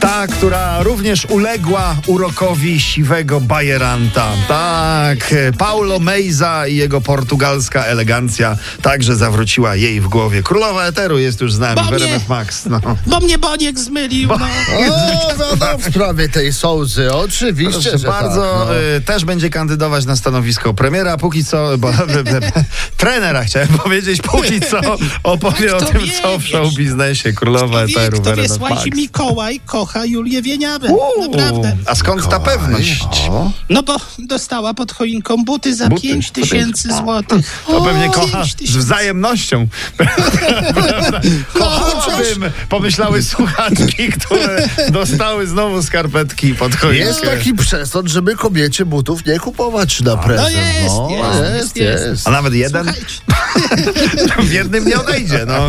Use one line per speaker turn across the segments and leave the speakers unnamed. Ta, która również uległa urokowi siwego bajeranta. Tak, Paulo Meiza i jego portugalska elegancja także zawróciła jej w głowie. Królowa Eteru jest już z nami, w
Babie!
RMF Max. No.
Bo mnie Boniek zmylił. No.
O, no, no, w sprawie tej sołzy, oczywiście,
Proszę
że
bardzo,
tak, no.
y, też będzie kandydować na stanowisko premiera, póki co, bo, y, trenera chciałem powiedzieć, póki co opowie
Tak
o
to
tym,
wie,
co w
wiesz.
show biznesie. Królowa
Wie,
Eteru w
kto wie,
RMF Max.
słuchajcie, Mikołaj kocha Julię Wieniawę.
Uuu,
Naprawdę.
A skąd ta pewność?
O,
No bo dostała pod choinką buty za
Buty. Tak.
5 tysięcy złotych.
To pewnie
O,
kocha
5
z
tysięcy.
wzajemnością. Prawda? Kochałabym, pomyślały słuchaczki, które dostały znowu skarpetki pod choinkę.
Jest taki przesąd, żeby kobiecie butów nie kupować na prezent.
jest,
no,
jest,
jest,
jest.
A nawet jeden
Słuchajcie,
w jednym nie odejdzie. No.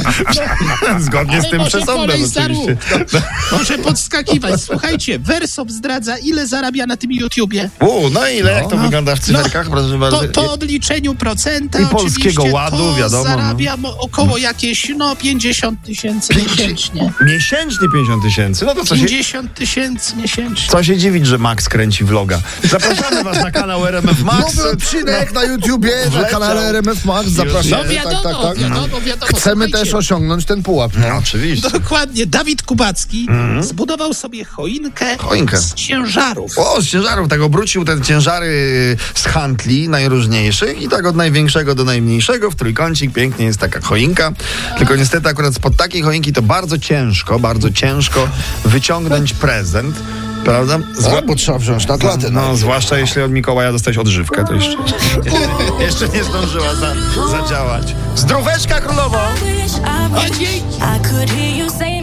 Zgodnie z
ale
tym
może
przesądem
koleś za
oczywiście.
róg. Może podskakiwać. Słuchajcie, Versop zdradza, ile zarabia na tym YouTubie.
U, no i ile, jak to wygląda w cyferkach, proszę bardzo.
Po, po odliczeniu procenta
I Polskiego
oczywiście,
Ładu,
to
wiadomo, no.
zarabiam około jakieś no 50 tysięcy miesięcznie.
Miesięcznie 50 tysięcy. No to co się,
50 tysięcy miesięcznie.
co się dziwić, że Max kręci vloga. Zapraszamy was na kanał RMF Max.
Nowy odcinek na YouTubie, na
Wleciał.
kanale RMF Max, zapraszamy.
No wiadomo, wiadomo, wiadomo.
tak. Chcemy
Słuchajcie,
też osiągnąć ten pułap. No.
No, oczywiście.
Dokładnie, Dawid Kubacki
Mhm.
zbudował sobie choinkę,
Choinkę.
z ciężarów.
O, z ciężarów, tak obrócił ten ciężary z hantli najróżniejszych i tak od największego do najmniejszego w trójkącik pięknie jest taka choinka. Tylko niestety akurat spod takiej choinki to bardzo ciężko, bardzo ciężko wyciągnąć prezent, prawda? Zwła-
Bo trzeba wziąć na klatę.
no, zwłaszcza jeśli od Mikołaja dostać odżywkę, to jeszcze, jeszcze nie zdążyła za, zadziałać. Zdróweczka królowo!
wish I
O, dzięki.
I could hear you say